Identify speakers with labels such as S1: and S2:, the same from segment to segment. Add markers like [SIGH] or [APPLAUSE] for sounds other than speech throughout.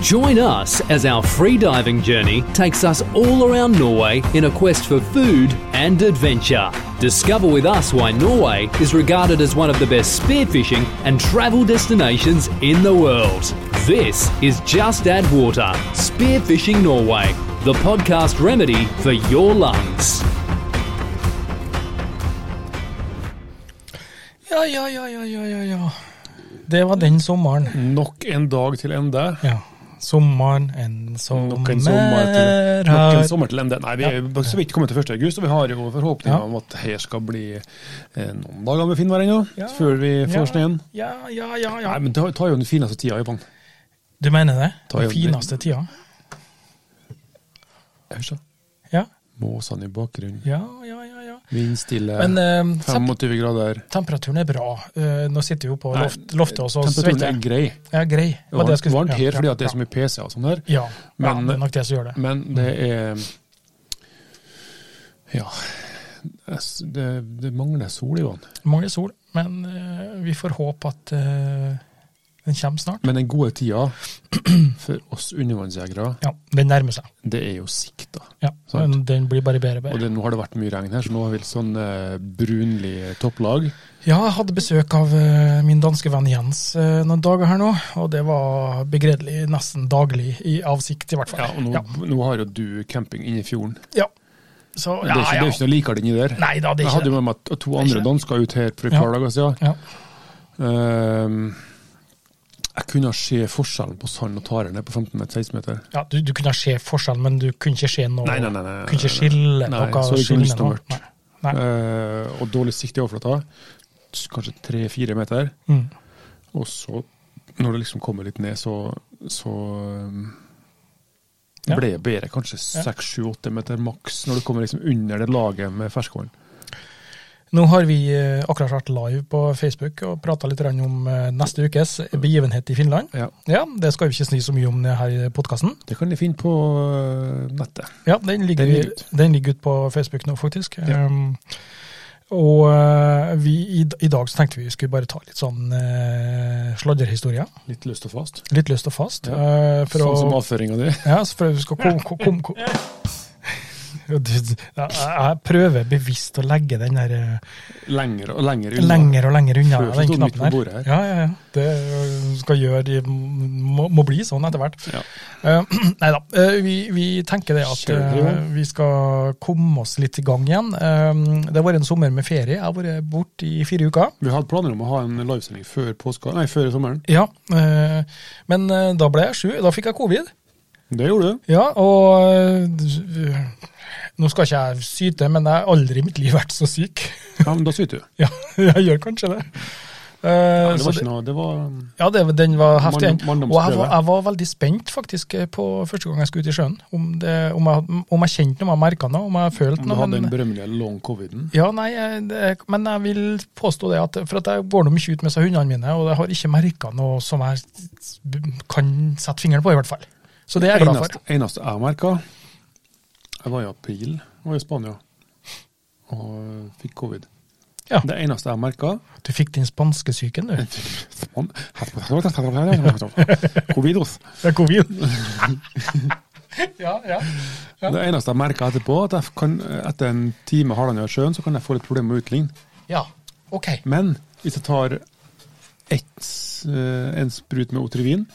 S1: Join us as our free diving journey takes us all around Norway in a quest for food and adventure. Discover with us why Norway is regarded as one of the best spearfishing and travel destinations in the world. This is Just Add Water Spearfishing Norway, the podcast remedy for your lungs.
S2: Ja, ja, ja, ja, ja, ja, ja. Det var den sommeren.
S3: Nok en dag til ende.
S2: Ja. Sommeren, en sommer
S3: Nok en sommer til, nok en
S2: her.
S3: sommer til ende. Nei, vi er jo så vidt kommet til 1. august, og vi har jo forhåpninger
S2: Ja.
S3: om at her skal bli eh, noen dager med finvær ennå,
S2: Ja.
S3: før vi får
S2: Ja.
S3: snøen.
S2: Ja, ja, ja, ja.
S3: Nei, men det tar jo den fineste tida i vann.
S2: Du mener det?
S3: Ta
S2: Den
S3: igjen det.
S2: fineste tida?
S3: Hørsa.
S2: Ja,
S3: Måsene i bakgrunnen,
S2: ja, ja, ja. ja.
S3: vindstille,
S2: Men eh, temp
S3: 25 grader.
S2: temperaturen er bra. Eh, nå sitter vi jo på
S3: Nei,
S2: loft, loftet og så
S3: Temperaturen
S2: svetter.
S3: er grei.
S2: Ja, grei.
S3: Det er
S2: det jeg
S3: varmt,
S2: skulle-
S3: varmt
S2: ja,
S3: her fordi
S2: ja,
S3: at det er så mye PC-er og sånn her,
S2: Ja, ja,
S3: Men-
S2: det er nok det som gjør det.
S3: men det er Ja. Det, det mangler sol i vann.
S2: Mangler sol, men eh, vi får håpe at eh, den kommer snart.
S3: Men den gode tida [CLEARS THROAT] for oss undervannsjegere,
S2: Ja, den nærmer seg.
S3: det er jo sikta.
S2: Ja,
S3: Sant.
S2: men Den blir bare bedre og
S3: Og
S2: bedre.
S3: det, nå har det vært mye regn her, så nå har vi litt sånn eh, brunlig topplag.
S2: Ja, jeg hadde besøk av eh, min danske venn Jens eh, noen dager her nå, og det var begredelig nesten daglig i avsikt, i hvert fall.
S3: Ja, og nå,
S2: ja.
S3: nå har jo du camping inne i fjorden.
S2: ja. Så,
S3: Det
S2: ja,
S3: er ikke, det
S2: ja.
S3: er ikke noe likere inni der.
S2: Nei da, det
S3: Jeg
S2: er ikke det.
S3: hadde jo med meg t- to
S2: er
S3: andre
S2: ikke det.
S3: dansker ut her for et
S2: Ja.
S3: par dager siden.
S2: Ja.
S3: Ehm, jeg kunne se forskjellen på sand og tare ned på 15-16 meter.
S2: Ja, du, du kunne se forskjellen, men du kunne ikke se noe
S3: Nei, nei, nei, nei, nei,
S2: Kunne ikke skille
S3: nei.
S2: noe.
S3: Så det kunne
S2: skille
S3: lyst til å
S2: noe.
S3: vært.
S2: Nei. Nei.
S3: Eh, og dårlig sikt i overflata. S- Kanskje 3-4 meter.
S2: Mm.
S3: Og så, når det liksom kommer litt ned, så, så um,
S2: Ja.
S3: ble det bedre. Kanskje
S2: Ja.
S3: 6-7-8 meter maks, når du kommer liksom under det laget med ferskvann.
S2: Nå har vi eh, akkurat vært live på Facebook og prata litt grann om eh, neste ukes begivenhet i Finland.
S3: Ja.
S2: Ja, Det skal vi ikke sni så mye om det her i podkasten.
S3: Det kan de finne på uh, nettet.
S2: Ja, den ligger,
S3: Den ligger ut.
S2: den ligger ut på Facebook nå, faktisk.
S3: Ja.
S2: Um, og eh, vi, i, d- i dag så tenkte vi skulle bare ta litt sånn uh, sladderhistorie.
S3: Litt løst og fast.
S2: Litt løst og fast.
S3: Ja.
S2: eh, for
S3: sånn som
S2: å,
S3: avføringa di.
S2: ja, så for at vi skal kom, kom, kom, kom. [LAUGHS] Ja, du- ja, Jeg jeg prøver bevisst å legge den der eh,
S3: [LAUGHS] Lenger og lenger unna.
S2: lenger og lenger unna
S3: Før så
S2: den
S3: sto den midt
S2: knappen
S3: på
S2: her.
S3: bordet her.
S2: Ja, ja, ja. Det eh, skal gjøre må, må bli sånn etter hvert.
S3: Ja.
S2: Uh, nei da. eh, [CLEARS THROAT] vi, vi tenker det at
S3: Kjør det,
S2: eh, vi skal komme oss litt i gang igjen. Eh, det har vært en sommer med ferie. Jeg har vært borte i fire uker.
S3: Vi hadde planer om å ha en livesending før påska, nei, før sommeren.
S2: Ja, eh, Men eh, da ble jeg sju. Da fikk jeg covid.
S3: Det [LAUGHS] gjorde du.
S2: Ja, og eh, Nå skal ikke jeg syte, men jeg har aldri i mitt liv vært så syk. [LAUGHS]
S3: Ja, men da syter du.
S2: ja, jeg gjør kanskje det. Eh,
S3: Det
S2: så
S3: var ikke noe Det var um,
S2: Ja, det, den var heftig. den.
S3: Mann-
S2: og jeg
S3: manndomsprøve.
S2: var, jeg var veldig spent faktisk eh, på første gang jeg skulle ut i sjøen. Om, det, om, jeg, om jeg kjente noe, om jeg merka noe, om jeg følte
S3: Du
S2: noe.
S3: hadde den
S2: Men,
S3: berømmelige long coviden.
S2: ja, nei, jeg- det, men jeg vil påstå det, at, for at jeg går nå mye ut med disse hundene mine, og jeg har ikke merka noe som jeg s- kan sette fingeren på, i hvert fall. Så det er jeg glad for.
S3: eneste, eneste jeg merka, jeg var i april jeg var i Spania og fikk covid.
S2: Ja.
S3: Det eneste jeg merka [LAUGHS]
S2: Du fikk den spanske syken, du.
S3: Covidos.
S2: [LAUGHS] Det er covid. [LAUGHS] ja, ja.
S3: Det eneste jeg merka etterpå, at jeg kan, etter en time halvannen i sjøen, så kan jeg få litt problemer med å utligne.
S2: Ja, ok.
S3: Men hvis jeg tar ett, eh, en sprut med Otrivin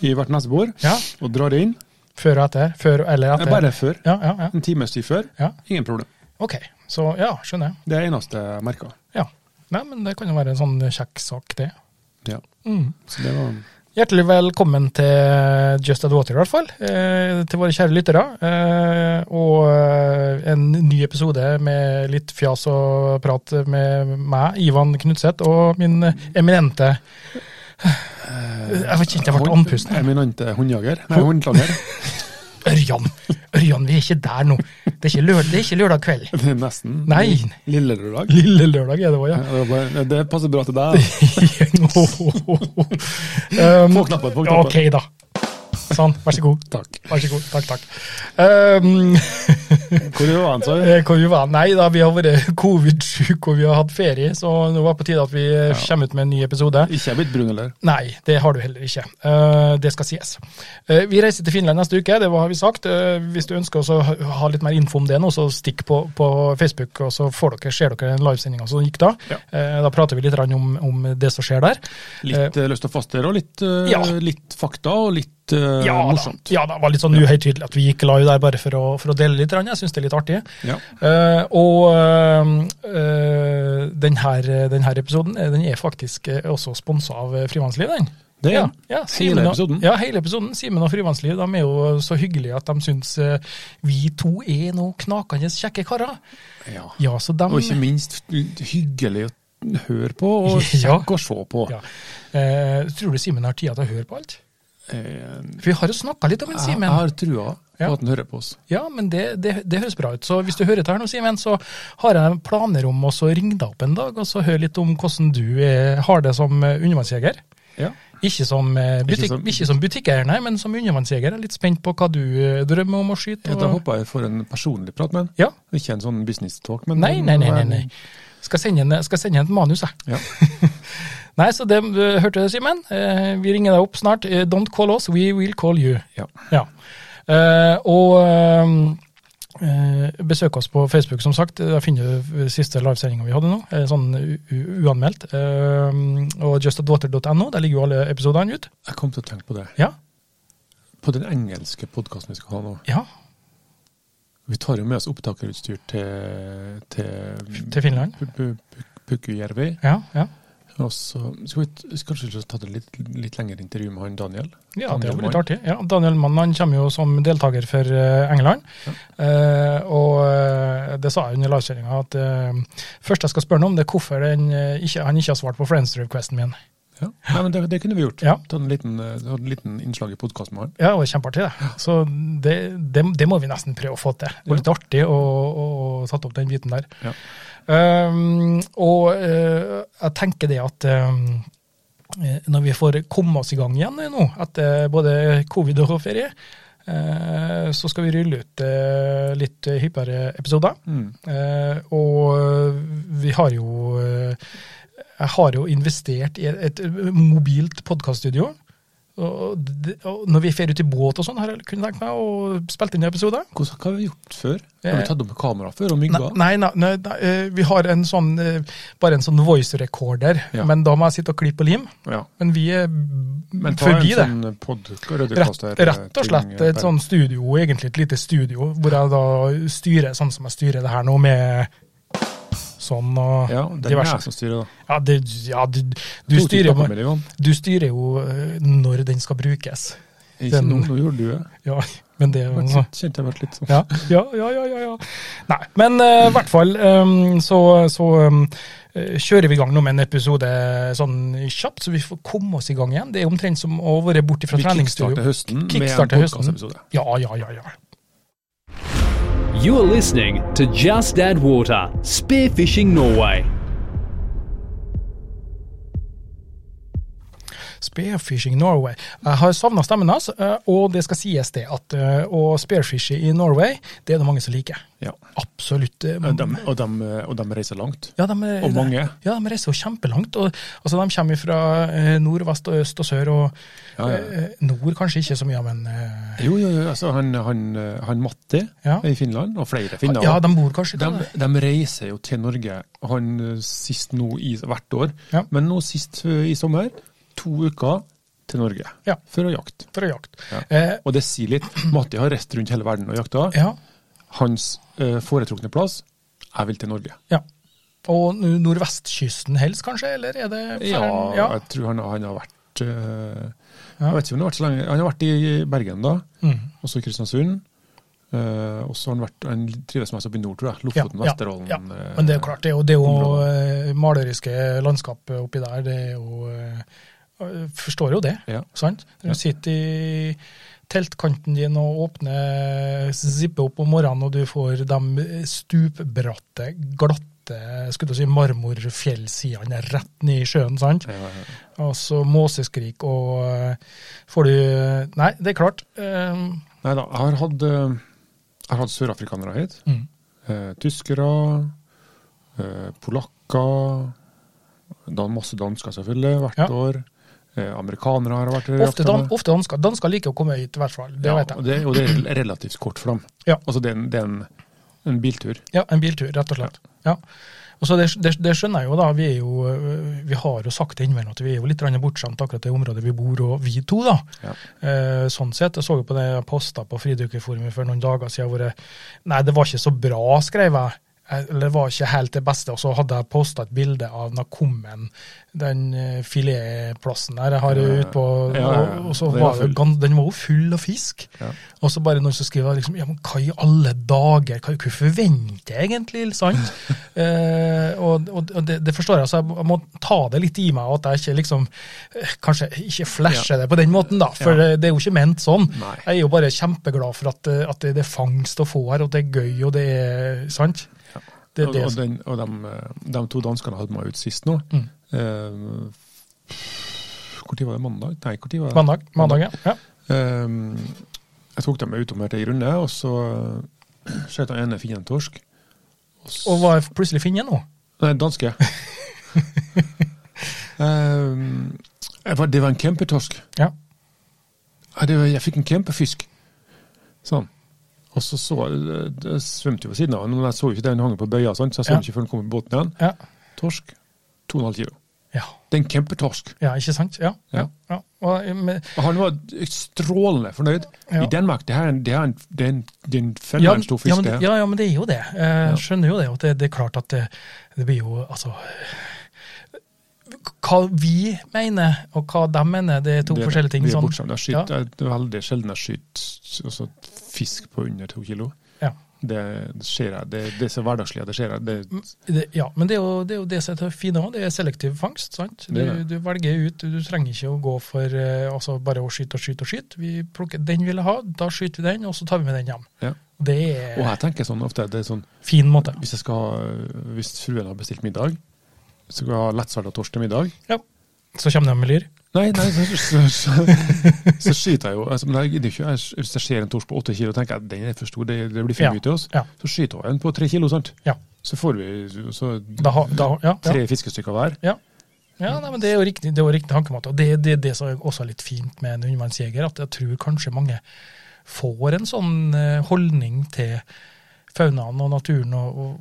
S3: i hvert nesebor
S2: Ja.
S3: og drar inn,
S2: Før og etter? Før eller etter?
S3: bare før,
S2: Ja, ja, ja.
S3: en times tid før,
S2: ja.
S3: ingen problem.
S2: Ok, så ja, skjønner jeg.
S3: Det er det eneste jeg merka.
S2: Ja. Nei, men det kan jo være en sånn kjekk sak, det.
S3: Ja.
S2: Mm.
S3: Så det var
S2: Hjertelig velkommen til Just Add Water, i hvert fall. Eh, til våre kjære lyttere. Eh, og eh, en ny episode med litt fjas og prat med meg, Ivan Knutseth, og min eminente Jeg vet ikke, jeg ble
S3: Hund-
S2: andpusten.
S3: Eminente hundjager. Nei, hundslager.
S2: Ørjan! Ørjan, vi er ikke der nå. Det er ikke lørdag, det er ikke lørdag kveld.
S3: Det er nesten.
S2: [LAUGHS] Nei.
S3: Lille lørdag.
S2: Lille lørdag er det òg, ja. [LAUGHS]
S3: Det, var bare- det passer bra til deg.
S2: um,
S3: Få knappen, få knappen.
S2: Ok, da. Sånn, vær så god.
S3: Takk.
S2: [LAUGHS] Vær så god. Takk, takk. Um,
S3: Hvor var han, sa du?
S2: Eh, Hvor vi var, nei da, vi har vært covid-syke og vi har hatt ferie, så nå var det på tide at vi eh, kommer ut med en ny episode.
S3: Ikke er blitt brun, eller?
S2: Nei, det har du heller ikke. Eh, det skal sies. Eh, vi reiser til Finland neste uke, det har vi sagt. Eh, hvis du ønsker å ha ha litt mer info om det nå, så stikk på, på Facebook, og så får dere, ser dere den livesendinga som gikk da.
S3: Ja.
S2: Eh, da prater vi litt grann om, om det som skjer der.
S3: Litt eh, løst og fast der, og litt, eh,
S2: Ja.
S3: litt fakta og litt eh,
S2: Ja, da,
S3: morsomt.
S2: ja da, det var litt sånn uhøytidelig at vi gikk live der bare for å, for å dele litt. grann. Jeg syns det er litt artig.
S3: Ja.
S2: Eh, og denne, episoden eh, den er faktisk eh, også sponsa av eh, Frimannsliv, den.
S3: Det er
S2: ja,
S3: den.
S2: ja,
S3: hele
S2: Simen og-
S3: episoden.
S2: Ja, hele episoden. Simen og Frimannsliv de er jo så hyggelige at de syns eh, vi to er noen knakende kjekke karer.
S3: Ja.
S2: Ja, så dem,
S3: Og ikke minst hyggelig å høre på og
S2: [LAUGHS] Ja.
S3: kjekk å se på.
S2: ja. Eh, tror du Simen har tid til å høre på alt?
S3: Eh,
S2: For vi har jo snakka litt om en
S3: jeg, jeg
S2: Simen.
S3: har trua på
S2: Ja.
S3: at han hører på oss.
S2: Ja, men det, det, det høres bra ut. Så hvis du hører til her nå, Simen, så har jeg planer om å så ringe deg opp en dag og så høre litt om hvordan du eh, har det som eh, undervannsjeger.
S3: Ja.
S2: Ikke som, eh, butikk,
S3: som-
S2: ikke som butikkeier, nei, men som undervannsjeger. Jeg er litt spent på hva du eh, drømmer om å skyte.
S3: Da
S2: og-
S3: håper jeg får en personlig prat med han.
S2: Ja.
S3: Ikke en sånn business talk, men
S2: Nei, nei, nei. nei, nei. Skal sende en, skal sende en manus, jeg.
S3: Ja.
S2: [LAUGHS] Nei, så det eh, hørte du, Simen. Eh, Vi ringer deg opp snart. Eh, Don't call us, we will call you.
S3: Ja.
S2: Ja. Eh, og eh, eh, besøk oss på Facebook, som sagt. Der finner du siste livesendinga vi hadde nå, eh, sånn u- u- uanmeldt. Eh, og justadaughter.no, der ligger jo alle episodene ut.
S3: Jeg kom til å tenke på det.
S2: Ja.
S3: På den engelske podkasten vi skal ha nå.
S2: ja.
S3: Vi tar jo med oss opptakerutstyr til, til,
S2: Til Finland.
S3: Pu- pu- pu- Pukkujärvi.
S2: Ja, ja.
S3: Og så skal vi skal vi kanskje ta et litt, litt lengre intervju med han Daniel.
S2: Ja, det
S3: Daniel
S2: var litt
S3: Mann.
S2: artig. Ja, Daniel Mann han kommer jo som deltaker for eh, England. Eh, og eh, det sa jeg under livesendinga, at uh, først jeg skal spørre ham om, det er hvorfor den, eh, ikke, han ikke har svart på friends-requesten min.
S3: Ja. Nei, men det, det kunne vi gjort.
S2: Ja.
S3: Ta en liten, eh, ta en liten innslag i podkasten med han.
S2: Ja, det var kjempeartig, det. Så det, det, det må vi nesten prøve å få til. Det er litt artig å, å, å tatt opp den biten der.
S3: Ja.
S2: Um, og eh, jeg tenker det at um, eh, når vi får komme oss i gang igjen nå, etter både covid og ferie, eh, så skal vi rulle ut eh, litt hyppigere episoder.
S3: Mm.
S2: Eh, og vi har jo eh, Jeg har jo investert i et, et mobilt podkaststudio. Og det- og når vi fer ut i båt og sånn, har jeg kunnet tenkt meg å spille inn episoder.
S3: Hvordan, hva har vi gjort før? Har
S2: Eh,
S3: vi tatt opp kamera før og mygga?
S2: Nei, nei, nei, nei, nei, eh, vi har en sånn, eh, bare en sånn voice recorder,
S3: Ja.
S2: men da må jeg sitte og klippe og lim.
S3: Ja.
S2: Men vi er
S3: Men ta
S2: forbi det.
S3: en sånn eh, pod,
S2: Rett, rett og slett et sånn studio, egentlig et lite studio, hvor jeg da styrer sånn som jeg styrer det her nå, med sånn og
S3: Ja, det er jeg som styrer, da.
S2: Ja, det, ja du, du,
S3: To
S2: styrer,
S3: timer
S2: jo-
S3: med det, Johan.
S2: du styrer jo eh, når den skal brukes.
S3: Ikke
S2: Den-
S3: nå, nå gjorde du det.
S2: Ja, men det er jo
S3: Jeg Kjente jeg ble litt sånn.
S2: ja, ja, ja, ja, ja, ja. Nei, men eh, i hvert fall eh, så, så eh, kjører vi i gang nå med en episode sånn kjapt, så vi får komme oss i gang igjen. Det er omtrent som å være borte fra
S3: Vi kickstarter
S2: treningsstudio.
S3: høsten med en
S2: Kickstarter høsten.
S3: podkastepisode.
S2: Ja, ja, ja, ja.
S1: You're listening to Just Add Water Spearfishing Norway.
S2: Spearfishing Norway. Jeg har savna stemmen hans, eh, og det skal sies det at eh, å spearfishe i Norway, det er det mange som liker.
S3: Ja.
S2: Absolutt. eh,
S3: Og de, og, de, og de reiser langt.
S2: Ja, de, er-
S3: Og mange.
S2: Ja, de reiser jo kjempelangt. Og, altså, de kommer fra eh, nord, vest, og øst og sør. og
S3: Ja, ja.
S2: eh, Nord kanskje ikke så mye, men eh,
S3: Jo, jo, jo. Altså, han, han, han Matti
S2: Ja.
S3: i Finland, og flere finner.
S2: Ja, de bor kanskje
S3: de,
S2: ikke der.
S3: de reiser jo til Norge, han eh, sist nå i hvert år.
S2: Ja.
S3: Men nå sist eh, i sommer, to uker til Norge
S2: Ja.
S3: for å jakte.
S2: for å jakte.
S3: Ja.
S2: Eh,
S3: Og det sier
S2: [CLEARS THROAT]
S3: litt. Matti har reist rundt hele verden og jakta.
S2: ja,
S3: Hans eh, foretrukne plass, jeg vil til Norge.
S2: ja. Og n- nordvestkysten helst, kanskje? Eller er det
S3: Ja,
S2: Færen?
S3: jeg tror han, han har vært eh,
S2: Ja.
S3: Jeg vet ikke om han har vært så lenge. Han har vært i Bergen, da.
S2: Mm.
S3: Også i Kristiansund. Eh, og så har han vært Han trives mest oppe i nord, tror jeg.
S2: Ja,
S3: Lofoten,
S2: ja,
S3: Vesterålen.
S2: ja.
S3: eh,
S2: Men det er jo klart, det er jo, det er jo
S3: områder.
S2: eh, maleriske landskap oppi der. Det er jo eh, jeg Forstår jo det,
S3: Ja.
S2: sant? Når
S3: Ja.
S2: du sitter i teltkanten din og åpner zippet opp om morgenen, og du får de stupbratte, glatte skulle du si marmorfjellsidene rett ned i sjøen, sant?
S3: Ja, ja, ja.
S2: Og så måseskrik, og eh, får du Nei, det er klart. eh,
S3: Nei da, jeg har hatt eh, Jeg har hatt sørafrikanere hit.
S2: Mm.
S3: Eh, tyskere, eh, polakker, dan masse dansker selvfølgelig hvert
S2: Ja.
S3: år. Eh, amerikanere har vært her.
S2: Ofte, dan, ofte dansker. Dansker liker å komme hit, i hvert fall. Det
S3: ja,
S2: vet jeg.
S3: og det, og det er relativt kort for dem.
S2: Ja.
S3: Altså det er en, det er en, en biltur.
S2: Ja, en biltur, rett og slett. Ja. Og så det, det, det skjønner jeg jo, da. Vi, er jo, øh, vi har jo sagt innimellom at vi er jo litt grann bortskjemt akkurat det området vi bor, og vi to, da.
S3: Ja.
S2: Eh, sånn sett. Jeg så jo på det jeg posta på Fridykkerforumet for noen dager siden hvor jeg Nei, det var ikke så bra, skrev jeg. Eh, Eller det var ikke helt det beste. Og så hadde jeg posta et bilde av Nakommen, den eh, filetplassen der jeg har
S3: Ja, ja, ja.
S2: ute på
S3: Ja, ja, ja.
S2: og- Og så
S3: Den var
S2: var jo
S3: full.
S2: gan- den var jo full av fisk.
S3: Ja.
S2: Og så bare noen som skriver liksom, ja, men hva i alle dager, hva, hva forventer jeg egentlig,
S3: [LAUGHS]
S2: sant? eh, og og, og det, det forstår jeg, så jeg må ta det litt i meg, at jeg ikke liksom, eh, kanskje ikke flasher det på den måten da, for
S3: Ja.
S2: eh, det er jo ikke ment sånn.
S3: Nei.
S2: Jeg er jo bare kjempeglad for at, eh, at det, det er fangst å få her, og at det er gøy, og det er, sant?
S3: Ja.
S2: Det er
S3: og
S2: det
S3: og,
S2: som-
S3: den, og de, de to danskene hadde meg ut sist nå.
S2: Mm.
S3: Eh, hvor tid var det? Mandag? Nei, hvor tid var det?
S2: Mandag, mandag, ja. ja.
S3: Ehm, jeg tok dem med utom her til ei runde, og så eh, skjøt han ene finen torsk. så-
S2: Og var jeg plutselig finne nå?
S3: Nei,
S2: [LAUGHS]
S3: danske. Ehm, jeg var- det var en kjempetorsk.
S2: Ja.
S3: Ja, det var, jeg fikk en kjempefisk. Sånn. Og så, så jeg- jeg svømte jo ved siden av den, men jeg så jo ikke den hang på bøya, sant, så jeg så
S2: Ja.
S3: den ikke før den kom i båten igjen.
S2: Ja.
S3: Torsk 2,5 kilo.
S2: Ja.
S3: Det er en kjempetorsk.
S2: ja, ikke sant? Ja.
S3: Ja.
S2: ja. Og, eh, men-
S3: Og han var strålende fornøyd.
S2: Ja.
S3: I Danmark, det her er en, det her er en, det er en, det er en
S2: ja,
S3: fenomenalt stor fisk.
S2: ja, men,
S3: det her.
S2: ja, ja, men det er jo det. Eh, Jeg skjønner jo det. At det, det er klart at det, det blir jo Altså Hva vi mener, og hva de mener, det er to
S3: Det-
S2: forskjellige ting.
S3: det er
S2: sånn.
S3: bortskjemt. Jeg skyter, jeg- Det er veldig sjelden jeg skyter altså, fisk på under to kilo.
S2: Ja.
S3: Det skjer jeg. Det, det er så hverdagslig at det skjer jeg. Det,
S2: Det, ja, men det er, jo, det er jo det som er det fine òg, det er selektiv fangst. sant? Du,
S3: Det er det.
S2: du velger ut, du trenger ikke å gå for eh, altså bare å skyte og skyte og skyte. Vi plukker den vi vil ha, da skyter vi den, og så tar vi med den hjem.
S3: ja.
S2: Det er
S3: Og
S2: en
S3: jeg tenker sånn ofte det er sånn,
S2: fin måte.
S3: Hvis jeg skal ha- hvis fruen har bestilt middag, så skal jeg ha lettsalt og torsk til middag.
S2: Ja. Så kommer de med lyr.
S3: Nei, nei så, så, så, så skyter jeg jo. Altså, men jeg gidder ikke, jeg, hvis jeg ser en torsk på åtte kilo, tenker jeg at den er for stor, det, det blir for
S2: Ja.
S3: mye til oss.
S2: Ja.
S3: Så skyter jeg en på tre kilo, sant.
S2: Ja.
S3: Så får vi så,
S2: Da, har- da, har- ja, ja.
S3: tre fiskestykker hver.
S2: Ja. Ja, nei, men Det er jo riktig, det er jo riktig tankemåte. og Det er det, det som er også litt fint med en undervannsjeger, at jeg tror kanskje mange får en sånn eh, holdning til faunaen og naturen og, og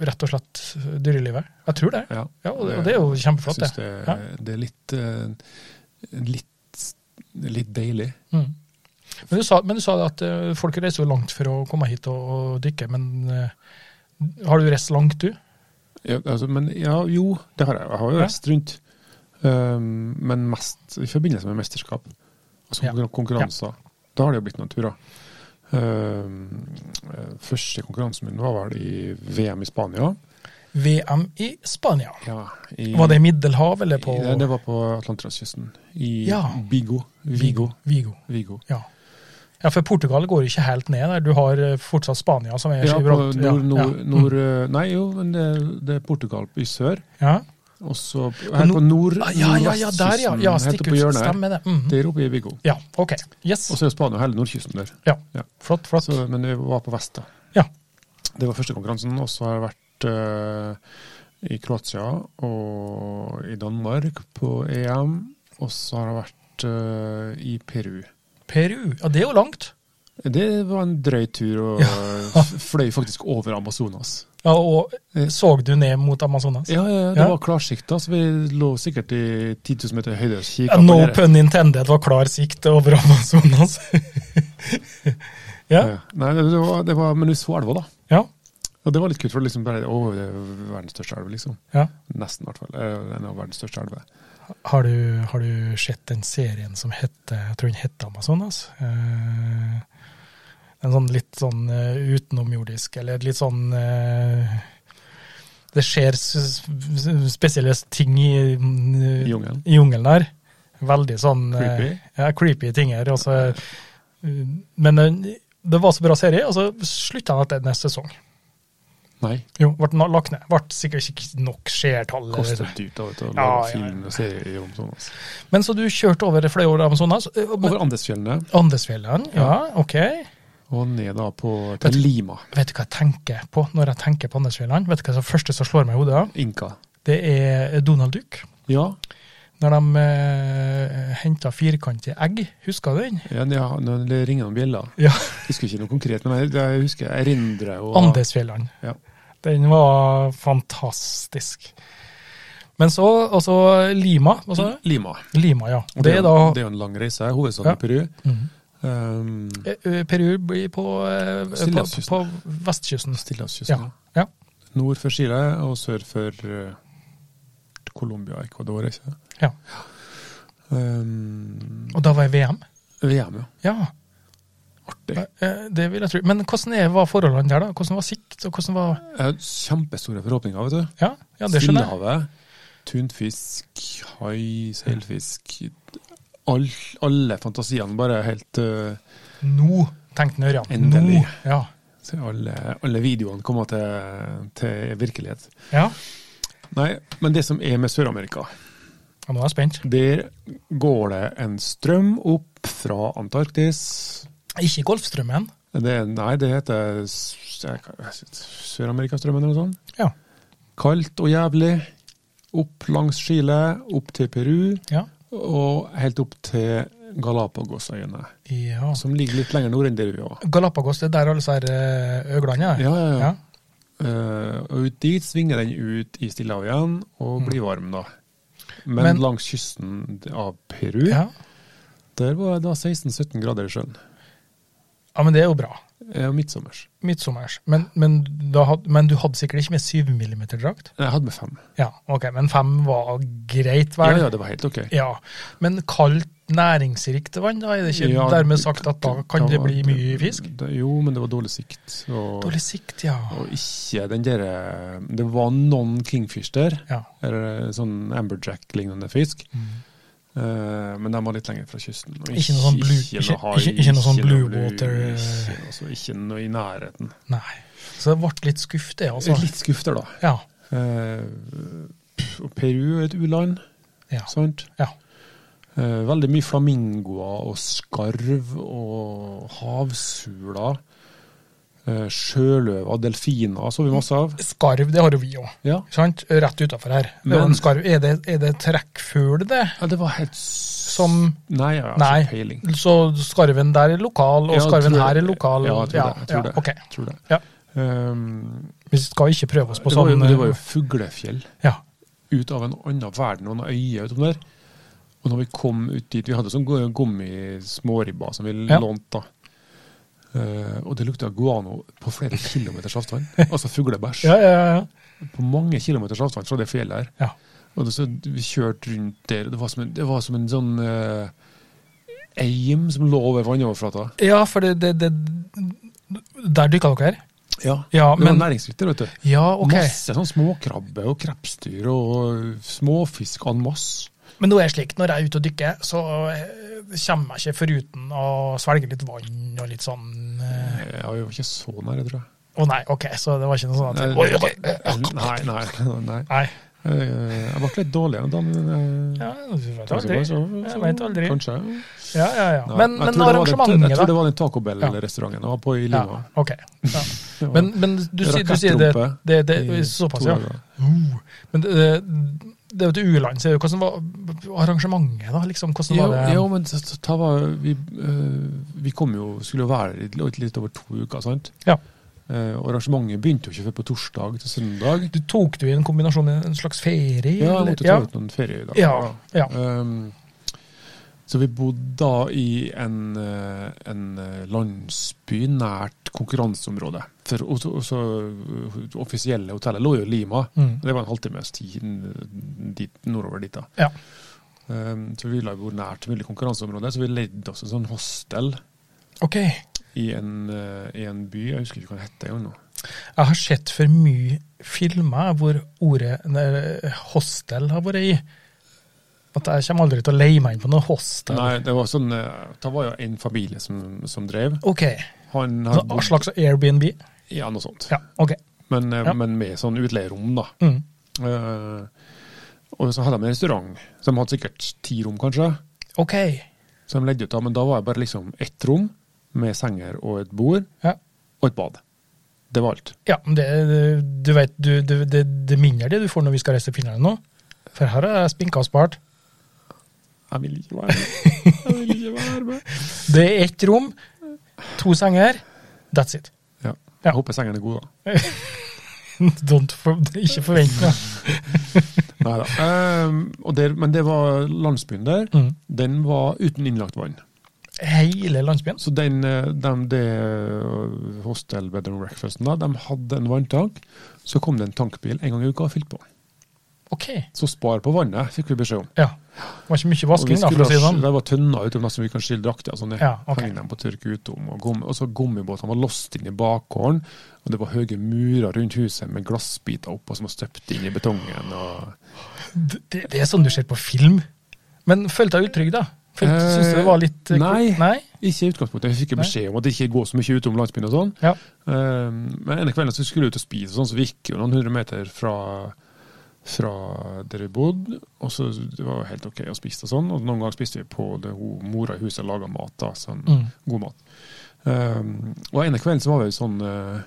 S2: rett og slett dyrelivet. Jeg tror det.
S3: Ja.
S2: Ja, og, det- og det er jo
S3: Jeg
S2: kjempeflott,
S3: syns
S2: det.
S3: det, det er litt, eh, litt, litt deilig.
S2: Mm. Men, du sa, men du sa at eh, folk reiser jo langt for å komme hit og, og dykke, men eh, har du reist langt, du?
S3: Ja, altså, men ja, jo, det har jeg. Jeg har jo
S2: Ja.
S3: reist rundt. Um, men mest i forbindelse med mesterskap. Altså
S2: Ja.
S3: konkurran- konkurranser. Da har det jo blitt noen turer. Um, eh, første konkurransen min var vel i VM i Spania.
S2: VM i Spania.
S3: Ja, i,
S2: Var det i Middelhav eller på
S3: i- Nei, det var på Atlanterhavskysten. I
S2: Ja.
S3: Bigo. Vigo.
S2: Vigo.
S3: Vigo.
S2: Ja. ja, for Portugal går ikke helt ned. der. Du har eh, fortsatt Spania som er
S3: Ja, på
S2: Gibraltar.
S3: nord, nord,
S2: ja. Mm.
S3: nord eh, Nei, jo, men det, det er Portugal i sør.
S2: Ja.
S3: Og så her på
S2: nord-
S3: nord,
S2: Ah, ja, ja, ja, der, ja. ja
S3: helt
S2: stikk
S3: oppe på
S2: ut.
S3: hjørnet her.
S2: Stemmer det. Mhm.
S3: Der oppe er Viggo.
S2: Ja, OK. Yes.
S3: Og så er jo Spania hele nordkysten der.
S2: Ja.
S3: Ja.
S2: Flott, flott.
S3: Så, men vi var på vest, da.
S2: Ja.
S3: Det var første konkurransen. Og så har jeg vært eh, i Kroatia og i Danmark på EM. Og så har jeg vært eh, i Peru.
S2: Peru. Ja, det er jo langt.
S3: Det var en drøy tur, og f- fløy faktisk over Amazonas.
S2: Ja, og
S3: Eh.
S2: så du ned mot Amazonas?
S3: Ja, ja, ja, det
S2: Ja.
S3: var klarsikt, da, så vi lå sikkert i 10 000 meter høyde. og kikket
S2: Ja,
S3: på
S2: No
S3: dere.
S2: pun intended var klar sikt over Amazonas. [LAUGHS] ja.
S3: Ja. Nei, det det var, det var, men vi så elva, da.
S2: Ja.
S3: Og det var litt kult, for det liksom bare, å, det er verdens største elv, liksom.
S2: ja.
S3: Nesten, i hvert fall. Eh, En av verdens største elver.
S2: Har du, har du sett den serien som heter Jeg tror den heter Amazonas? Eh, en sånn litt sånn eh, utenomjordisk, eller litt sånn eh, Det skjer s- s- spesielle ting i, mm,
S3: I jungelen.
S2: i jungelen der. Veldig sånn eh,
S3: Creepy.
S2: ja, creepy ting her. Og så, eh, men den- det var så bra serie, og så slutta den etter neste sesong.
S3: Nei.
S2: Jo, ble na- lagt ned. Ble sikkert ikke nok seertall. eller-
S3: Kostet dyrt da, vet du, å lage
S2: Ja, ja, ja.
S3: film og serier om sånn. Altså.
S2: Men så du kjørte over fløy over Amazonas? eh, men-
S3: Over Andesfjellene.
S2: Andesfjellet, ja. Ok.
S3: og ned da på,
S2: Vet-
S3: til Lima.
S2: Vet du hva jeg tenker på når jeg tenker på Andesfjelland? Vet du hva som første som slår meg i hodet?
S3: Inka.
S2: Det er Donald Duck.
S3: Ja,
S2: Når de eh, henta firkantige egg, husker du den?
S3: ja, ja nå ringer noen bjeller.
S2: Ja.
S3: Husker ikke noe konkret, men jeg, jeg husker jeg erindrer jo
S2: Andesfjelland.
S3: Ja.
S2: Den var fantastisk. Men så og så Lima. Og så,
S3: Lima.
S2: Lima, ja.
S3: Og
S2: Det er da
S3: det er jo en lang reise. Hovedstaden
S2: Ja.
S3: i Peru.
S2: Mhm.
S3: Um,
S2: Eh, eh, Peru blir på, eh, på,
S3: Stillehavskysten.
S2: på vestkysten.
S3: Stillehavskysten.
S2: Ja. ja.
S3: Nord for Chile og sør for eh, Colombia og Ecuador, ikke
S2: Ja.
S3: Um,
S2: Og da var jeg VM.
S3: VM, ja.
S2: Ehm, Ja,
S3: Artig.
S2: eh, det vil jeg tro. Men hvordan er, var forholdene der, da? Hvordan var sikt? og hvordan var...
S3: Jeg har kjempestore forhåpninger, vet du.
S2: Ja, ja det skjønner jeg.
S3: Stillehavet, tunt fisk, hai, seilfisk. All, alle fantasiene bare helt eh,
S2: Nå tenkte han Ørjan.
S3: Endelig.
S2: Nå. Ja.
S3: se, alle, alle videoene kommer til, til virkelighet.
S2: ja.
S3: Nei, men det som er med Sør-Amerika,
S2: Og nå er jeg spent.
S3: der går det en strøm opp fra Antarktis.
S2: Ikke Golfstrømmen.
S3: Det, nei, det heter s- jeg kan- jeg synes- Sør-Amerikastrømmen eller noe sånt.
S2: Ja.
S3: Kaldt og jævlig. Opp langs Chile, opp til Peru
S2: Ja.
S3: og helt opp til Galapagosøyene.
S2: ja. altså.
S3: Som ligger litt lenger nord enn der vi var.
S2: Galapagos, det er der alle disse her, eh, øglene er?
S3: Ja, ja, ja.
S2: Ja.
S3: Eh, og ut dit svinger den ut i Stillehavet igjen og blir varm, da. Mm. Men,
S2: Men-
S3: langs kysten av Peru,
S2: Ja.
S3: der var det da 16-17 grader i sjøen.
S2: ja, men det er jo bra.
S3: Eh, Midtsommers.
S2: Midtsommers. Men, men, da had, men du hadde sikkert ikke med 7 mm drakt?
S3: Jeg hadde med fem.
S2: Ja, ok, men 5 var greit,
S3: Ja,
S2: vel?
S3: ja, det var helt ok.
S2: Ja, Men kaldt, næringsrikt vann, da er det ikke
S3: Ja,
S2: dermed sagt at da kan
S3: da
S2: det
S3: var
S2: bli mye fisk?
S3: Det, jo, men det var dårlig sikt. Og,
S2: Dårlig sikt, ja.
S3: og ikke den derre Det var noen kingfish der,
S2: Ja.
S3: eller sånn amberjack-lignende fisk.
S2: Mm.
S3: eh, men de var litt lenger fra kysten. og
S2: Ikke noe sånn blue-
S3: ikke,
S2: ikke-
S3: noe hai,
S2: ikke- ikke noe sånn
S3: ikke
S2: blue
S3: noe blue,
S2: water, eh.
S3: Ikke, altså, ikke noe i nærheten.
S2: Nei. Så det ble litt skuff, det, altså.
S3: Litt skuffet, da.
S2: Ja.
S3: Eh, pff, og Peru er et u-land,
S2: ja.
S3: sant?
S2: Ja.
S3: Eh, veldig mye flamingoer og skarv og havsuler. Eh, sjøløver og delfiner
S2: Mm.
S3: så vi masse av.
S2: Skarv, det har jo vi òg.
S3: Ja.
S2: Sant? Rett utafor her. Det er jo
S3: Men-
S2: en skarv. Er det, er det trekkfugl, det?
S3: ja, det var helt s-
S2: Som
S3: Nei, jeg har
S2: Nei.
S3: ikke peiling.
S2: Så skarven der er lokal, og
S3: Ja,
S2: skarven
S3: tror-
S2: her er lokal?
S3: Ja, jeg tror det. Jeg tror
S2: ja,
S3: det.
S2: ok.
S3: Tror det.
S2: Ja.
S3: Ehm,
S2: Vi skal ikke prøve oss på
S3: det, var jo,
S2: sånn
S3: det var jo
S2: eh,
S3: fuglefjell
S2: Ja.
S3: ut av en annen verden og noen øyer utom der. Og når vi kom ut dit Vi hadde sånn gu- gummismåribber som vi
S2: Ja.
S3: lånte, da. Eh, og det lukta guano på flere
S2: [LAUGHS]
S3: kilometers avstand. Altså fuglebæsj.
S2: Ja, ja, ja.
S3: på mange kilometers avstand fra det fjellet her.
S2: Ja.
S3: Og det, så vi kjørte rundt der, og det var som en, det var som en sånn eh, eim som lå over vannoverflata.
S2: ja for det, det, det Der dykka dere?
S3: Ja.
S2: Ja,
S3: det var
S2: men
S3: næringsrikt der, vet du.
S2: Ja, ok.
S3: Masse sånn småkrabbe og krepsdyr og eh, småfisk en masse.
S2: Men nå er det slik, når jeg er ute og dykker, så eh, kommer jeg ikke foruten å svelge litt vann og litt sånn eh,
S3: Jeg var jo ikke så nære, tror jeg.
S2: Å nei, ok, så det var ikke noe sånn at
S3: Nei,
S2: Oi, oi, oi.
S3: Nei, nei. nei.
S2: Nei.
S3: Eh, Jeg ble litt dårlig en dag, men eh,
S2: Ja, du vet
S3: kanskje
S2: aldri.
S3: bare så-
S2: Jeg vet aldri.
S3: Kanskje.
S2: Ja, ja, ja. Men,
S3: Nei, jeg tror det
S2: men
S3: var den-
S2: arrangementet,
S3: Jeg
S2: da?
S3: tror det var den Taco Bell-restauranten jeg var på i
S2: Ja,
S3: Lima.
S2: ok. Ja.
S3: Det var-
S2: Men, men du, sier- du sier det,
S3: Rakettrumpe
S2: det, det,
S3: i
S2: Såpass,
S3: to
S2: ja.
S3: dager.
S2: Uh, Men det, det er jo til u-land, så er det jo hvordan var arrangementet, da? Liksom, hvordan
S3: Jo,
S2: var det?
S3: jo, men så- så da var vi, eh, vi kom jo, skulle jo være litt, litt over to uker, sant?
S2: Ja.
S3: Eh, og arrangementet begynte jo ikke før på torsdag til søndag.
S2: Du tok du i en kombinasjon i en slags ferie?
S3: Ja, jeg
S2: eller?
S3: måtte ta ut noen feriedager.
S2: ja. ja, ja.
S3: Um, så vi bodde da i en, eh, en eh, landsby nært konkurranseområdet. For også, også det eh, offisielle hotellet lå jo i Lima.
S2: Mm.
S3: Det var en halvtimes tid n- dit, nordover dit. da.
S2: Ja.
S3: Um, så vi ville jo bo nært mulig konkurranseområde, så vi leide oss en sånn hostel
S2: Ok. Jeg
S3: i en, eh, i en by, jeg husker ikke hva den heter engang nå.
S2: har sett for mye filmer hvor ordet nei, hostel har vært i. At jeg kommer aldri til å leie meg inn på noe hostel.
S3: Nei, det var sånn, eh, da var jo en familie som, som drev.
S2: Ok,
S3: Han
S2: så
S3: har
S2: en
S3: bodd,
S2: slags Airbnb?
S3: ja, noe sånt.
S2: Ja, ok.
S3: Men, eh,
S2: Ja.
S3: men med sånn utleierom, da.
S2: Mm.
S3: Eh, og så hadde de en restaurant, så de hadde sikkert ti rom, kanskje.
S2: Ok.
S3: Så de leide ut da, men da var det bare liksom ett rom med senger og et bord
S2: Ja.
S3: og et bad. Det var alt.
S2: Ja, men det, det- du vet, du, du, det, det minner det du får når vi skal reise til Finland nå. For her har jeg spinka og spart.
S3: Jeg vil ikke være med. Jeg vil ikke være med.
S2: Det er ett rom, to senger, that's it. [LAUGHS]
S3: Ja.
S2: Ja.
S3: Jeg håper sengene er gode, da.
S2: Don't for, ikke forvent noe.
S3: Neida. Ehm, og der, men det var landsbyen der.
S2: Mm.
S3: Den var uten innlagt vann.
S2: Hele landsbyen.
S3: Så den, eh, dem- det hostel bed and breakfasten da, de hadde en vanntank. Så kom det en tankbil en gang i uka og fylte på.
S2: Ok.
S3: Så spar på vannet, fikk vi beskjed om.
S2: Ja. Det var ikke mye
S3: Og vi
S2: vasking, da, for å si det
S3: skulle ha-
S2: sånn.
S3: Det var tønner utom der som vi kan skille drakter. Sånn,
S2: Ja, ok.
S3: Hengte dem på tørk utom. Og, gummi, og så gummibåtene var låst inn i bakgården. Og det var høye murer rundt huset med glassbiter oppå som var støpt inn i betongen. og...
S2: Det, det- det er sånn du ser på film. Men følte deg utrygg, da? Følte,
S3: Eh,
S2: synes du det var litt eh,
S3: nei.
S2: ko- nei?
S3: Ikke i utgangspunktet. Vi fikk jo
S2: Nei.
S3: beskjed om at det ikke går så mye utom landsbyen og sånn.
S2: Ja.
S3: Eh, Men ene kvelden så vi skulle ut og spise, og sånn, så vi gikk jo noen hundre meter fra, fra der vi bodde. Og så det var jo helt OK å spise og sånn. Og noen ganger spiste vi på det hun, mora i huset laga mat. da, sånn
S2: Mm.
S3: god mat. Um, og ene kvelden så var vi sånn uh,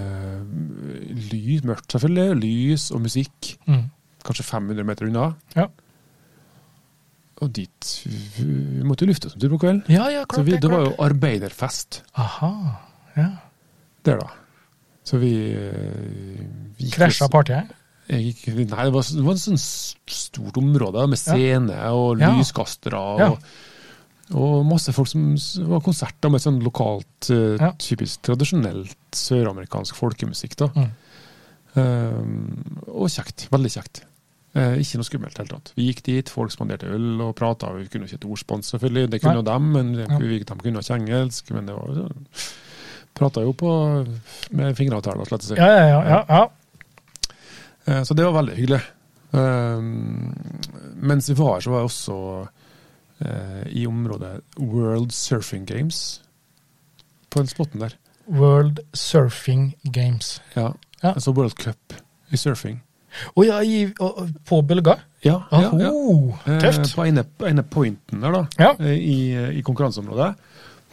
S3: uh, lys, mørkt selvfølgelig, lys og musikk,
S2: Mm.
S3: kanskje 500 meter unna.
S2: Ja.
S3: Og dit Vi måtte jo lufte oss en tur på kvelden.
S2: ja, ja, klart
S3: så vi,
S2: det.
S3: det var
S2: Klart.
S3: jo arbeiderfest
S2: Aha. Ja.
S3: der, da. Så vi, uh, vi gikk-
S2: Krasja partiet?
S3: Jeg gikk, nei, det var, det var et sånt stort område med
S2: Ja.
S3: scene og
S2: Ja.
S3: lyskastere. Og,
S2: Ja.
S3: og masse folk som s- var konserter med sånn lokalt, eh,
S2: Ja.
S3: typisk tradisjonelt søramerikansk folkemusikk. da.
S2: Mm.
S3: Um, og kjekt. Veldig kjekt. Eh, ikke noe skummelt i det hele tatt. Vi gikk dit, folk spanderte øl og prata. Vi kunne ikke et ordspansk, selvfølgelig. Det kunne
S2: Nei.
S3: jo dem, men
S2: Ja.
S3: vi, de kunne ikke engelsk. Men det var jo sånn Prata jo på med fingeravtaler, slett å si.
S2: Ja, ja, ja. ja, ja.
S3: Eh, Så det var veldig hyggelig. Um, mens vi var her, så var jeg også eh, i området World Surfing Games. På den spotten der.
S2: World Surfing Games.
S3: Ja.
S2: Ja.
S3: Altså World Cup i surfing.
S2: Å ja, i, å, å, på bølger?
S3: Ja, ja, ja.
S2: Aho,
S3: Eh,
S2: Tøft.
S3: På ene, på ene pointen der, da,
S2: Ja.
S3: eh, i, i konkurranseområdet,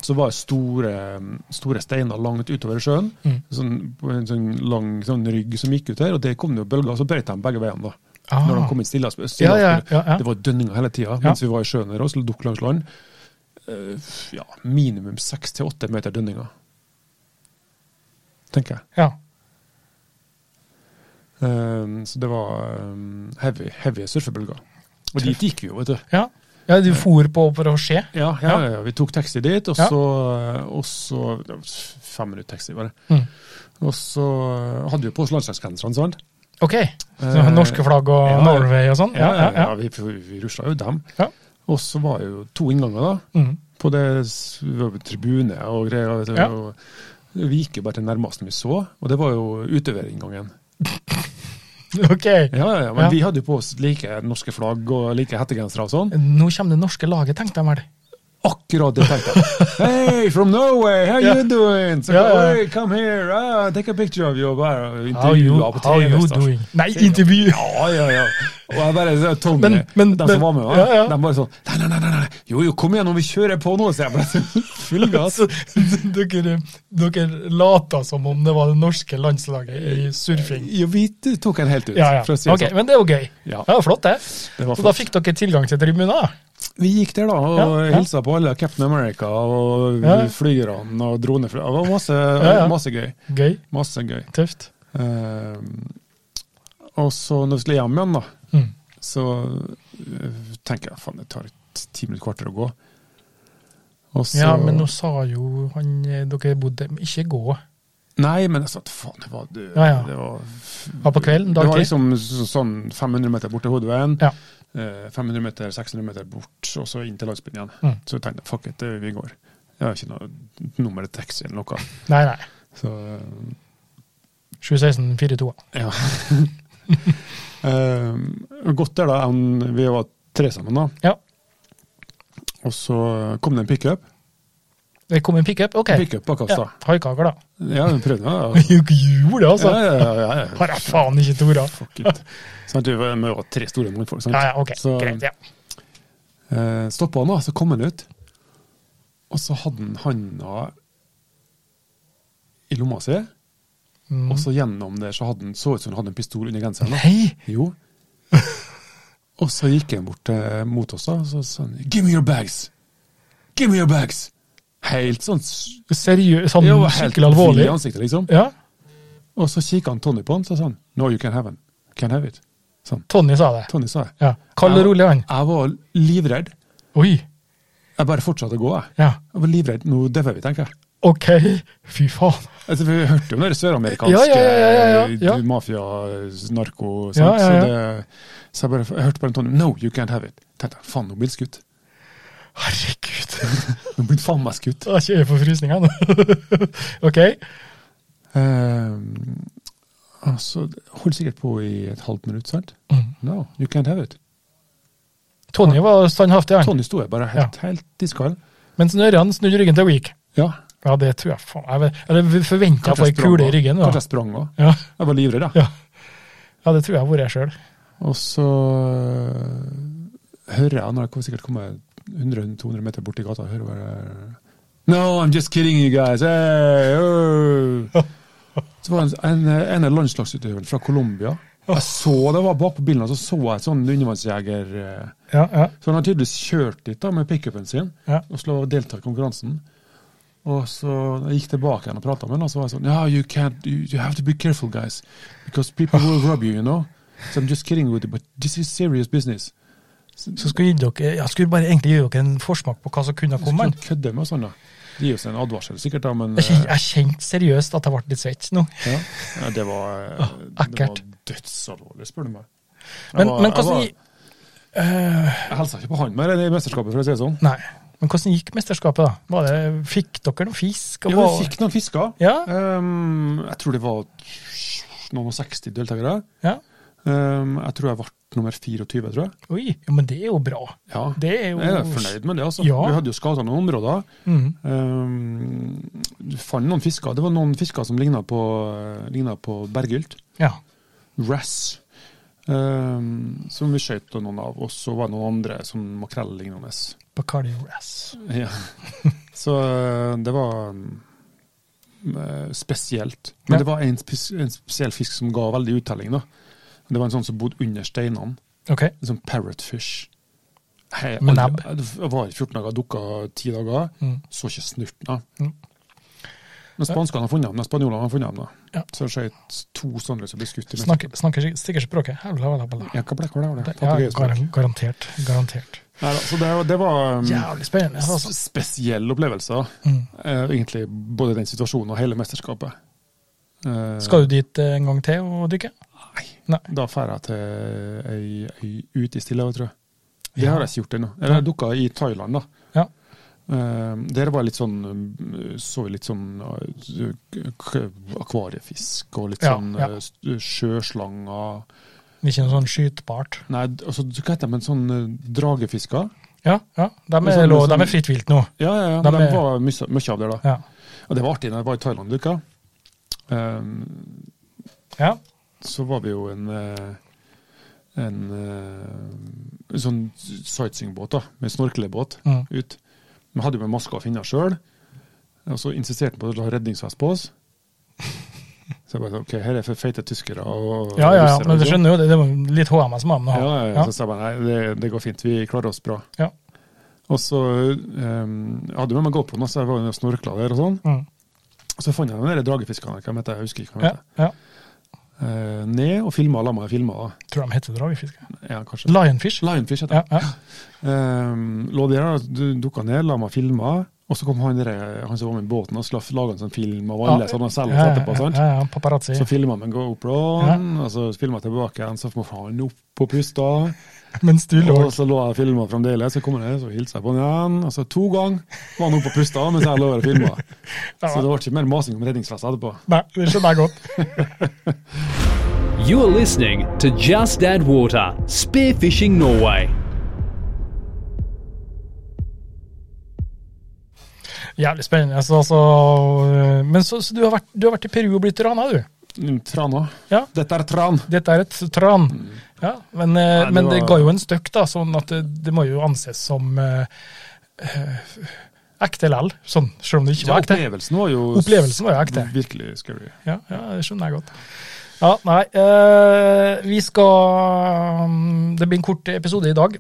S3: så var det store, store steiner langt utover i sjøen.
S2: Mm.
S3: Sånn, på en sånn lang sånn rygg som gikk ut her, og der kom det jo bølger, og så brøt de begge veiene. da.
S2: Ah.
S3: Når de kom inn stille, stille,
S2: Ja, ja, ja, ja.
S3: Det var dønninger hele tida mens vi var i sjøen her og dukk langs land. Eh, ja, minimum seks til åtte meter dønninger, tenker jeg.
S2: Ja.
S3: Eh, så det var eh, heavy, heavy surfebølger. Og dit gikk vi jo, vet du.
S2: Ja. ja, du for på for å se?
S3: Ja, ja, ja, ja. vi tok taxi dit, og
S2: Ja.
S3: så, eh, og så det var Fem minutter taxi, bare.
S2: Mm.
S3: Og så eh, hadde vi på oss landslagsgenserne, sant?
S2: Ok. Så
S3: Eh,
S2: norske flagg og
S3: ja, ja.
S2: Norway og sånn? Ja, ja, ja.
S3: vi, vi rusla jo dem.
S2: Ja.
S3: Og så var det jo to innganger, da.
S2: Mm.
S3: På det s- tribune og greier. vet du,
S2: Ja.
S3: og Vi gikk jo bare til nærmeste vi så, og det var jo utøverinngangen.
S2: Ok.
S3: Ja, ja, ja, men
S2: Ja.
S3: vi hadde jo på oss like norske flagg og like hettegensere og sånn.
S2: Nå kommer det norske laget, tenkte jeg vel.
S3: Akkurat det tenkte jeg.
S2: [LAUGHS]
S3: Hey, from Norway, how
S2: Ja.
S3: you doing? So,
S2: Ja, ja.
S3: Hey, come here, ah, take a picture of you. og Bare
S2: How you,
S3: intervjua på
S2: how you
S3: TV. altså.
S2: doing? Nei, intervju!
S3: Ja, ja, ja. Og jeg bare så, Tommy,
S2: Men- men-
S3: de
S2: men-
S3: som var med,
S2: ja, ja.
S3: de bare sånn Nei, nei, nei, nei, nei. Jo, jo, kom igjen, nå, vi kjører på nå, sier jeg bare. [LAUGHS] Full gass.
S2: Altså, [LAUGHS] dere, dere lata som om det var det norske landslaget i surfing.
S3: Jo, vi tok en helt ut,
S2: Ja, ja.
S3: for å si det
S2: Ok,
S3: sånn.
S2: Men det er jo gøy.
S3: Ja.
S2: Det var flott, det.
S3: Det var
S2: Så da
S3: flott.
S2: fikk dere tilgang til tribuner?
S3: Vi gikk der da og
S2: Ja, ja.
S3: hilsa på alle Captain America og
S2: Ja.
S3: flygerne og dronefly. Det var masse,
S2: ja.
S3: masse gøy.
S2: Gøy.
S3: Masse gøy.
S2: Tøft.
S3: Eh, og så når vi skulle hjem igjen, da,
S2: Mm.
S3: så eh, tenker jeg faen, det tar et ti minutter kvarter å gå. Og så,
S2: Ja, men nå sa jo han eh, dere bodde men Ikke gå.
S3: Nei, men jeg sa at faen, det var det,
S2: Ja, ja.
S3: det var,
S2: Var på kvelden,
S3: det var
S2: dagtid.
S3: liksom så- sånn 500 meter bort til hovedveien.
S2: Ja.
S3: eh, 500 meter, 600 meter bort, og så inn til landsbyen igjen.
S2: Mm.
S3: Så jeg tenkte jeg fuck it, det- vi går. Jeg har ikke noe nummer til taxi eller noe.
S2: Nei, nei.
S3: Så eh,
S2: 716 42.
S3: Ja. [LAUGHS] uh, godt er det, han- vi var tre sammen da,
S2: Ja.
S3: og så kom det en pickup.
S2: Det kom en pickup? Ok.
S3: Pickup bak oss
S2: Ja,
S3: da.
S2: Haikaker, da.
S3: Ja, vi prøvde ja.
S2: [LAUGHS] Jo, Gjorde det, [LAUGHS] altså!
S3: Ja, ja, ja, ja, ja.
S2: Har jeg faen ikke tora.
S3: Fuck it. Sånn, vi var vi var tre store mannfolk, sant?
S2: Ja, ja, ok.
S3: Så
S2: Greit, ja.
S3: eh, stoppet han da, så kom han ut. Og så hadde han handa i lomma si,
S2: Mm.
S3: og så gjennom der så hadde han, så ut som han hadde en pistol under genseren. da.
S2: Nei! [LAUGHS]
S3: Jo. Og så gikk han bort eh, mot oss da, og så sa han 'give me your bags'! Give me your bags! Helt sånn s-
S2: Seriøst? Sånn
S3: jo, helt
S2: skikkelig
S3: vill
S2: alvorlig?
S3: i ansiktet, liksom.
S2: Ja.
S3: Og så kikka han Tony på han, så sa han 'no, you can have it'. Can have it. Sånn.
S2: Tony sa det.
S3: Tony sa det.
S2: Ja. Kald og rolig, han.
S3: Jeg var livredd.
S2: Oi.
S3: Jeg bare fortsatte å gå, jeg.
S2: Ja.
S3: Jeg var livredd. Nå dauer vi, tenker jeg.
S2: OK. Fy faen.
S3: Altså, vi hørte jo om den søramerikanske
S2: Ja, ja, ja, ja, ja, ja.
S3: eh, mafia, eh, narko
S2: Ja,
S3: sant?
S2: ja, ja.
S3: Så, det, så jeg bare jeg hørte bare Antonio No, you can't have it. Tenkte jeg, faen, nå blir det skutt.
S2: Herregud. [LAUGHS]
S3: Nå blir det faen meg skutt.
S2: Jeg kjører på frysninga nå. [LAUGHS] OK.
S3: Eh, altså, det holdt sikkert på i et halvt minutt, sant?
S2: Mm.
S3: No, you can't have it.
S2: Tony var standhaftig, han.
S3: Tony sto jeg bare helt, helt diskal.
S2: Mens Ørjan snudde ryggen til Week.
S3: Ja.
S2: Ja, det tror jeg faen Jeg, vet- Eller forventa å få ei kule i
S3: også.
S2: ryggen. Da.
S3: Kanskje jeg sprang òg.
S2: Ja.
S3: Jeg var livredd, da.
S2: Ja. ja, det tror jeg har vært jeg sjøl.
S3: Og så eh, hører jeg, når jeg sikkert kommer 100-200 meter borti gata, hører jeg bare No, I'm just kidding you guys! Hey, oh. Så var det en, en av landslagsutøverne fra Colombia. Jeg så det var bakpå bilen, og så så jeg et sånn undervannsjeger eh,
S2: Ja, ja.
S3: Så han har tydeligvis kjørt dit da med pickupen sin
S2: Ja.
S3: og så deltatt i konkurransen. Og så når jeg gikk tilbake igjen og prata med han, og så var jeg sånn yeah, you, can't, you, you have to be careful, guys. Because people will rob you, you know. So I'm just kidding with you, but this is serious business.
S2: Så skulle gi dere, jeg skulle bare egentlig gi dere en forsmak på hva som kunne
S3: Så
S2: komme.
S3: kan du kødde med oss sånn, da. Det gir oss en advarsel, sikkert, da,
S2: [LAUGHS]
S3: men
S2: Jeg kjen- jeg kjente seriøst at jeg ble litt svett nå.
S3: eh, ja. Ja, det var, eh, det var
S2: ekkelt.
S3: dødsalvorlig, spør du meg. Jeg
S2: Men,
S3: var-
S2: men
S3: jeg var-
S2: hvordan gi- eh,
S3: Jeg hilsa ikke på han mer i det mesterskapet, for å si det sånn.
S2: Nei. Men hvordan gikk mesterskapet, da? Var det, fikk dere noe fisk? og
S3: Jo,
S2: var-
S3: vi fikk noen fisker.
S2: Ja.
S3: Ehm, jeg tror det var noen og 60 deltakere.
S2: Ja.
S3: Ehm, jeg tror jeg ble nummer 24, tror jeg.
S2: Oi, ja, men det er jo bra.
S3: Ja.
S2: Det er jo
S3: Jeg er fornøyd med det. altså.
S2: Ja.
S3: Vi hadde jo skada noen områder.
S2: Mm.
S3: Ehm, Du fant noen fisker. Det var noen fisker som ligna på, lignet på bergylt.
S2: Ja.
S3: Rass. Ehm, som vi skjøt noen av. Og så var det noen andre som makrell-lignende.
S2: Bacardi Ras. [LAUGHS]
S3: Ja. Så eh, det var eh, spesielt. Men
S2: Ja.
S3: det var en, spes en spesiell fisk som ga veldig uttelling. da. Det var en sånn som bodde under steinene.
S2: Ok.
S3: En sånn parrotfish. Hei,
S2: Med
S3: aldri-
S2: nebb.
S3: Jeg jeg var i 14 dager, dukka 10 dager.
S2: Mm.
S3: Så ikke snurten av.
S2: Mm.
S3: Men spanskene har funnet dem, de spanjolene har funnet dem. da.
S2: Ja.
S3: Så skjøt to sånne som ble skutt. i
S2: Snakker, snakker sikk- sikkert språket. Helvla, helvla, helvla.
S3: Ja, kabla, kabla, kabla.
S2: Ja,
S3: Papegøyespråk.
S2: gar- garantert. Garantert.
S3: Neida, Så det, det var um,
S2: Jævlig spennende. Altså.
S3: s- spesiell opplevelse.
S2: Mm.
S3: Eh, egentlig både den situasjonen og hele mesterskapet. Eh,
S2: Skal du dit eh, en gang til og dykke?
S3: Nei.
S2: Nei.
S3: Da drar jeg til ei øy ute i Stillehavet, tror jeg. Det
S2: Ja.
S3: har jeg ikke gjort ennå. Eller jeg dukka i Thailand, da.
S2: Ja.
S3: Eh, der var jeg litt sånn eh, Så litt sånn eh, k- akvariefisk og litt
S2: Ja,
S3: sånn
S2: ja.
S3: eh, s- sjøslanger
S2: Ikke noe sånn skytbart?
S3: Nei, d- altså, hva heter de? En sånn eh, dragefisker?
S2: Ja, ja. De
S3: Men
S2: er,
S3: sånn-
S2: lov,
S3: sånn-
S2: de er fritt vilt nå.
S3: Ja, ja, ja.
S2: De
S3: De,
S2: er-
S3: var mye, mye av der, da.
S2: Ja.
S3: Og det var artig når jeg var i Thailand og dukka. Eh,
S2: ja.
S3: så var vi jo en eh, en eh, sånn sightseeingbåt, da, med snorklebåt
S2: Mm.
S3: ut. Vi hadde jo med masker og finner sjøl, og så insisterte han på å ha redningsvest på oss. Så jeg bare sa, ok, her er for feite tyskere og
S2: ja, ja, ja.
S3: russere,
S2: Men du
S3: liksom.
S2: skjønner jo, det, det var litt HMS som han
S3: Ja,
S2: har.
S3: ja, ja.
S2: Ja.
S3: Så sa jeg bare nei, det, det går fint, vi klarer oss bra.
S2: Ja.
S3: Og så um, jeg hadde jo med meg GoPro, så jeg var jo og snorkla der og sånn.
S2: Mm.
S3: Og så fant jeg den der dragefiskene, hva heter det, jeg husker ikke hva den
S2: ja,
S3: heter,
S2: ja.
S3: Eh, ned og filma, la meg filme. da.
S2: Tror de heter dragefiske.
S3: Ja, kanskje.
S2: Lionfish.
S3: Lionfish heter
S2: Ja,
S3: det.
S2: ja.
S3: Um, lå der og dukka ned, la meg filme. Og så kom han, der, han som var med i båten og skulle lage en sånn film av alle sånne selv og satte på. sant?
S2: Ja, ja, ja, paparazzi.
S3: Så filma med GoPro-en, og så filma tilbake igjen, så må han opp og puste.
S2: Mens du lå
S3: Og så lå jeg og filma fremdeles, så kom han ned, så hilsa jeg på han igjen. Og så to ganger var han oppe og pusta mens jeg lå og filma.
S2: [LAUGHS]
S3: Så det var ikke mer masing om redningsvest etterpå.
S2: Nei, det skjønner jeg godt.
S1: You're listening to Just Add Water Spearfishing Norway.
S2: Jævlig spennende. Så, altså, øh, men så, så du, har vært, du har vært i Peru og blitt rana, du?
S3: Mm, Trana.
S2: Ja.
S3: Dette er tran.
S2: Dette er et tran. Ja, men, eh,
S3: Nei, det
S2: men det
S3: var-
S2: ga jo en støkk, da, sånn at det, det må jo anses som eh, eh, ekte lell, sånn, selv om det ikke
S3: Ja,
S2: var ekte.
S3: opplevelsen var jo
S2: Opplevelsen var jo ekte.
S3: Virkelig scary.
S2: Ja, ja, det skjønner jeg godt. Ja, nei, eh, vi skal mm, Det blir en kort episode i dag.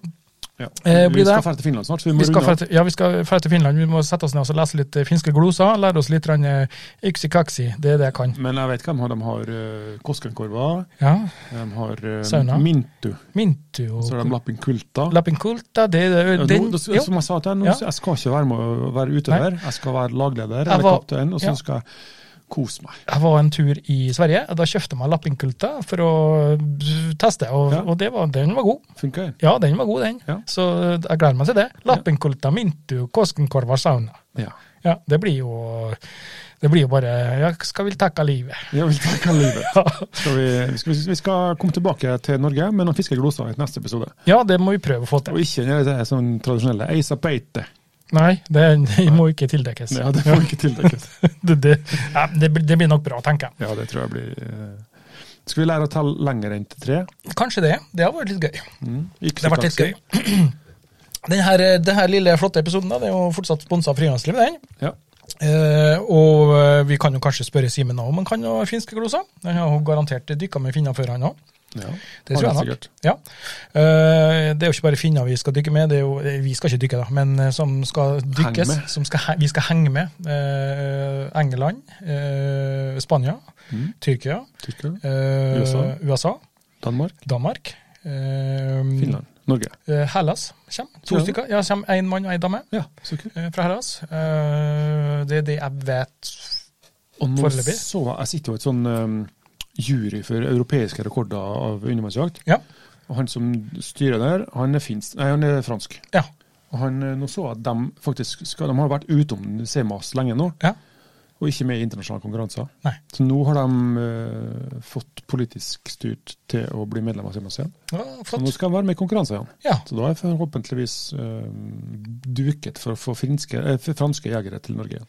S3: Ja.
S2: Eh,
S3: vi
S2: blir
S3: skal
S2: det-
S3: dra til Finland snart, så vi må
S2: Vi skal
S3: runde
S2: dra
S3: av.
S2: til, ja, vi skal dra til Finland. Vi må sette oss ned og så lese litt eh, finske gloser. Lære oss litt uh, yksi-kaksi. Det er det jeg kan.
S3: Men jeg vet hvem har. De har eh, Koskenkorva,
S2: Ja,
S3: de har eh,
S2: Sauna.
S3: Mintu,
S2: Mintu
S3: så har de
S2: og
S3: Lappinkulta.
S2: Lappinkulta. Det, det,
S3: Ja, nå-
S2: den,
S3: da-
S2: jo.
S3: som jeg sa til henne,
S2: Ja.
S3: så jeg skal ikke være med å være
S2: Nei.
S3: utøver. Jeg skal være lagleder
S2: Jeg
S3: eller
S2: var-
S3: kaptein, og så
S2: ja.
S3: skal jeg kose meg.
S2: Jeg var en tur i Sverige. og Da kjøpte jeg meg Lappinkulta for å eh, teste, og,
S3: Ja.
S2: og det var, den var god.
S3: Funker det?
S2: Ja, den var god, den.
S3: Ja.
S2: Så eh, jeg gleder meg til det. Lappinkulta, Mintu, Koskenkorva sauna.
S3: Ja.
S2: Ja, det blir jo Det blir jo bare Ja, skal vi takke livet? [LAUGHS]
S3: Jeg vil takke livet.
S2: Ja.
S3: Skal vi, vi, skal, vi skal komme tilbake til Norge med noen fiskegloser i neste episode.
S2: ja, det må vi prøve å få til.
S3: Og ikke det er sånn tradisjonelle eisa beite.
S2: Nei, det, det må ikke tildekkes.
S3: Ja, det får ikke
S2: [LAUGHS]
S3: tildekkes.
S2: det, det, ja, det, blir- det blir nok bra, tenker jeg.
S3: Ja, det tror jeg blir eh. Skal vi lære å telle lenger enn til tre? Mm.
S2: Kanskje det. Det har vært litt gøy.
S3: Ikke
S2: Det har vært litt gøy. Den her, eh, den her lille flotte episoden da, det er jo fortsatt sponsa av Frilandslivet, den.
S3: Ja.
S2: Eh, og eh, vi kan jo kanskje spørre Simen òg om han kan noe finske gloser. Han har jo garantert dykka med finner før, han òg.
S3: ja.
S2: Det tror
S3: Han er
S2: jeg nok.
S3: sikkert.
S2: Ja. Eh, det er jo ikke bare finner vi skal dykke med, det er jo, eh, vi skal ikke dykke, da, men eh, som skal dykkes.
S3: med.
S2: Som skal, he- vi skal henge med. Eh, England, eh, Spania,
S3: Mm.
S2: Tyrkia,
S3: Tyrkia,
S2: eh,
S3: USA.
S2: USA,
S3: Danmark,
S2: Danmark. eh,
S3: Finland, Norge.
S2: eh, Hellas kommer. To
S3: Ja.
S2: stykker. Ja, kommer én mann og ei dame
S3: Ja, så kult.
S2: eh, fra Hellas. Eh, det er det jeg vet.
S3: Og nå
S2: Foreløpig.
S3: så jeg, jeg sitter jo i et sånn um, jury for europeiske rekorder av undervannsjakt.
S2: Ja.
S3: Og han som styrer der, han er, finsk, nei, han er fransk.
S2: ja.
S3: Og han, eh, nå så jeg at de faktisk skal, de har vært utom CMAS lenge nå,
S2: Ja.
S3: og ikke med i internasjonale konkurranser.
S2: Nei.
S3: Så nå har de eh, fått politisk styrt til å bli medlem av CMAS igjen.
S2: Ja,
S3: Så nå
S2: flott.
S3: skal de være med i konkurranser igjen.
S2: Ja.
S3: Så da er forhåpentligvis eh, duket for å få finske, eh, for franske jegere til Norge igjen.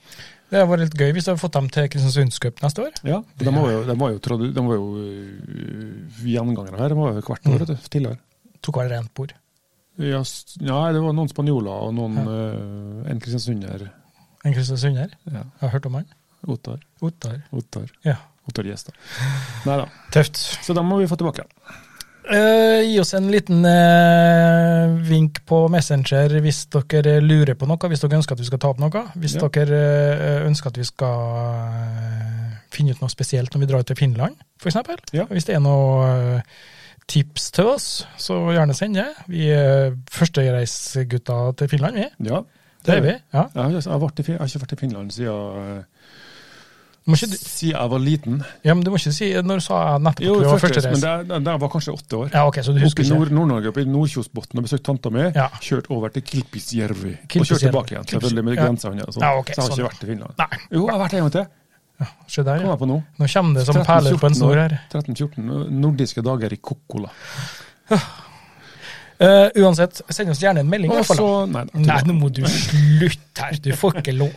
S2: Det hadde vært litt gøy hvis vi hadde fått dem til Kristiansundscup neste år.
S3: Ja, de var jo, de var jo, tradu- de var jo øh, gjengangere her. De var jo hvert
S2: Mm.
S3: år vet du, tidligere.
S2: Tok hver rent bord.
S3: Ja, s- nei, det var noen spanjoler og noen øh, en kristiansunder.
S2: En kristiansunder.
S3: Ja.
S2: Jeg har hørt om han.
S3: Ottar.
S2: Ottar.
S3: Ottar.
S2: Ja.
S3: Ottar Gjestad. Nei da.
S2: Tøft.
S3: Så dem må vi få tilbake.
S2: Eh, gi oss en liten eh, vink på Messenger hvis dere lurer på noe, hvis dere ønsker at vi skal ta opp noe. Hvis
S3: Ja.
S2: dere eh, ønsker at vi skal eh, finne ut noe spesielt når vi drar til Finland, f.eks.
S3: Ja.
S2: Hvis det er noe eh, tips til oss, så gjerne send det. Vi er førstereisegutta til Finland, vi.
S3: Ja.
S2: Det er vi. ja.
S3: Jeg har, jeg, har vært i, Fin- jeg har ikke vært i Finland siden, øh,
S2: Du må ikke,
S3: siden jeg var liten.
S2: ja, men du må ikke si Når sa jeg nettopp at
S3: Jo,
S2: vi var
S3: førstereis, men
S2: førstereis?
S3: der, der- der var kanskje åtte år.
S2: Ja, ok, så du
S3: Oppe
S2: husker
S3: i
S2: ikke.
S3: Nord- Nord-Norge, oppe i Nordkjosbotn og besøkt tanta mi.
S2: Ja.
S3: Kjørt over til Kilpisjärvi. Og
S2: Kilpisjärvi.
S3: kjørt tilbake igjen, selvfølgelig, med
S2: Ja.
S3: grensehandel og sånn.
S2: Ja, ok,
S3: så jeg har
S2: sånn.
S3: ikke vært i Finland.
S2: Nei,
S3: Jo, jeg har vært en gang til.
S2: se der,
S3: Kom
S2: ja.
S3: jeg på nå.
S2: Nå kommer det som
S3: 13-14
S2: perler på en snor
S3: år.
S2: her.
S3: 13-14 nordiske dager i Kokkola.
S2: Eh, uansett, send oss gjerne en melding. i
S3: Og
S2: hvert fall,
S3: så
S2: da.
S3: Nei, da,
S2: Nei, nå må du slutte her. Du får ikke lov.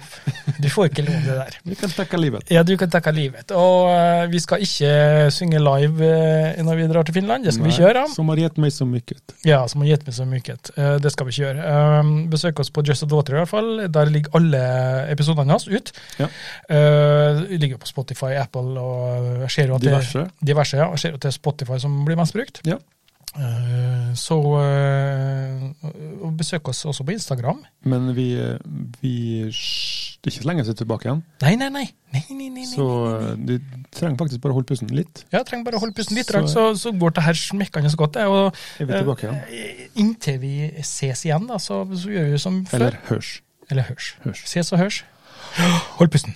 S2: Du får ikke lov det der.
S3: Vi kan stikke av livet.
S2: Ja, du kan takke livet. Og eh, vi skal ikke synge live eh, når vi drar til Finland. Det skal vi ikke gjøre.
S3: Som har gitt meg så mye.
S2: Ja, som har gitt meg så mye. Eh, Det skal vi ikke gjøre. Eh, Besøk oss på Just a Daughter, i hvert fall. Der ligger alle episodene hans ut.
S3: Ja.
S2: Eh, de ligger på Spotify, Apple og eh, jeg ser jo at
S3: Diverse.
S2: Det, diverse, ja. Jeg ser jo at det er Spotify som blir mest brukt.
S3: Ja.
S2: Eh, så eh, og besøk oss også på Instagram.
S3: Men vi, vi Det er ikke så lenge siden tilbake igjen,
S2: Nei, nei, nei. nei, nei, nei, nei.
S3: så eh, du trenger faktisk bare å holde pusten litt.
S2: Ja, jeg trenger bare å holde pusten litt,
S3: Så-
S2: så, så, så går det her smekkende så godt. det, Og,
S3: Er vi tilbake igjen?
S2: eh, inntil vi ses igjen, da, så, så gjør vi som før.
S3: Eller hørs.
S2: Eller hørs.
S3: Hørs.
S2: Ses og hørs. Hold pusten.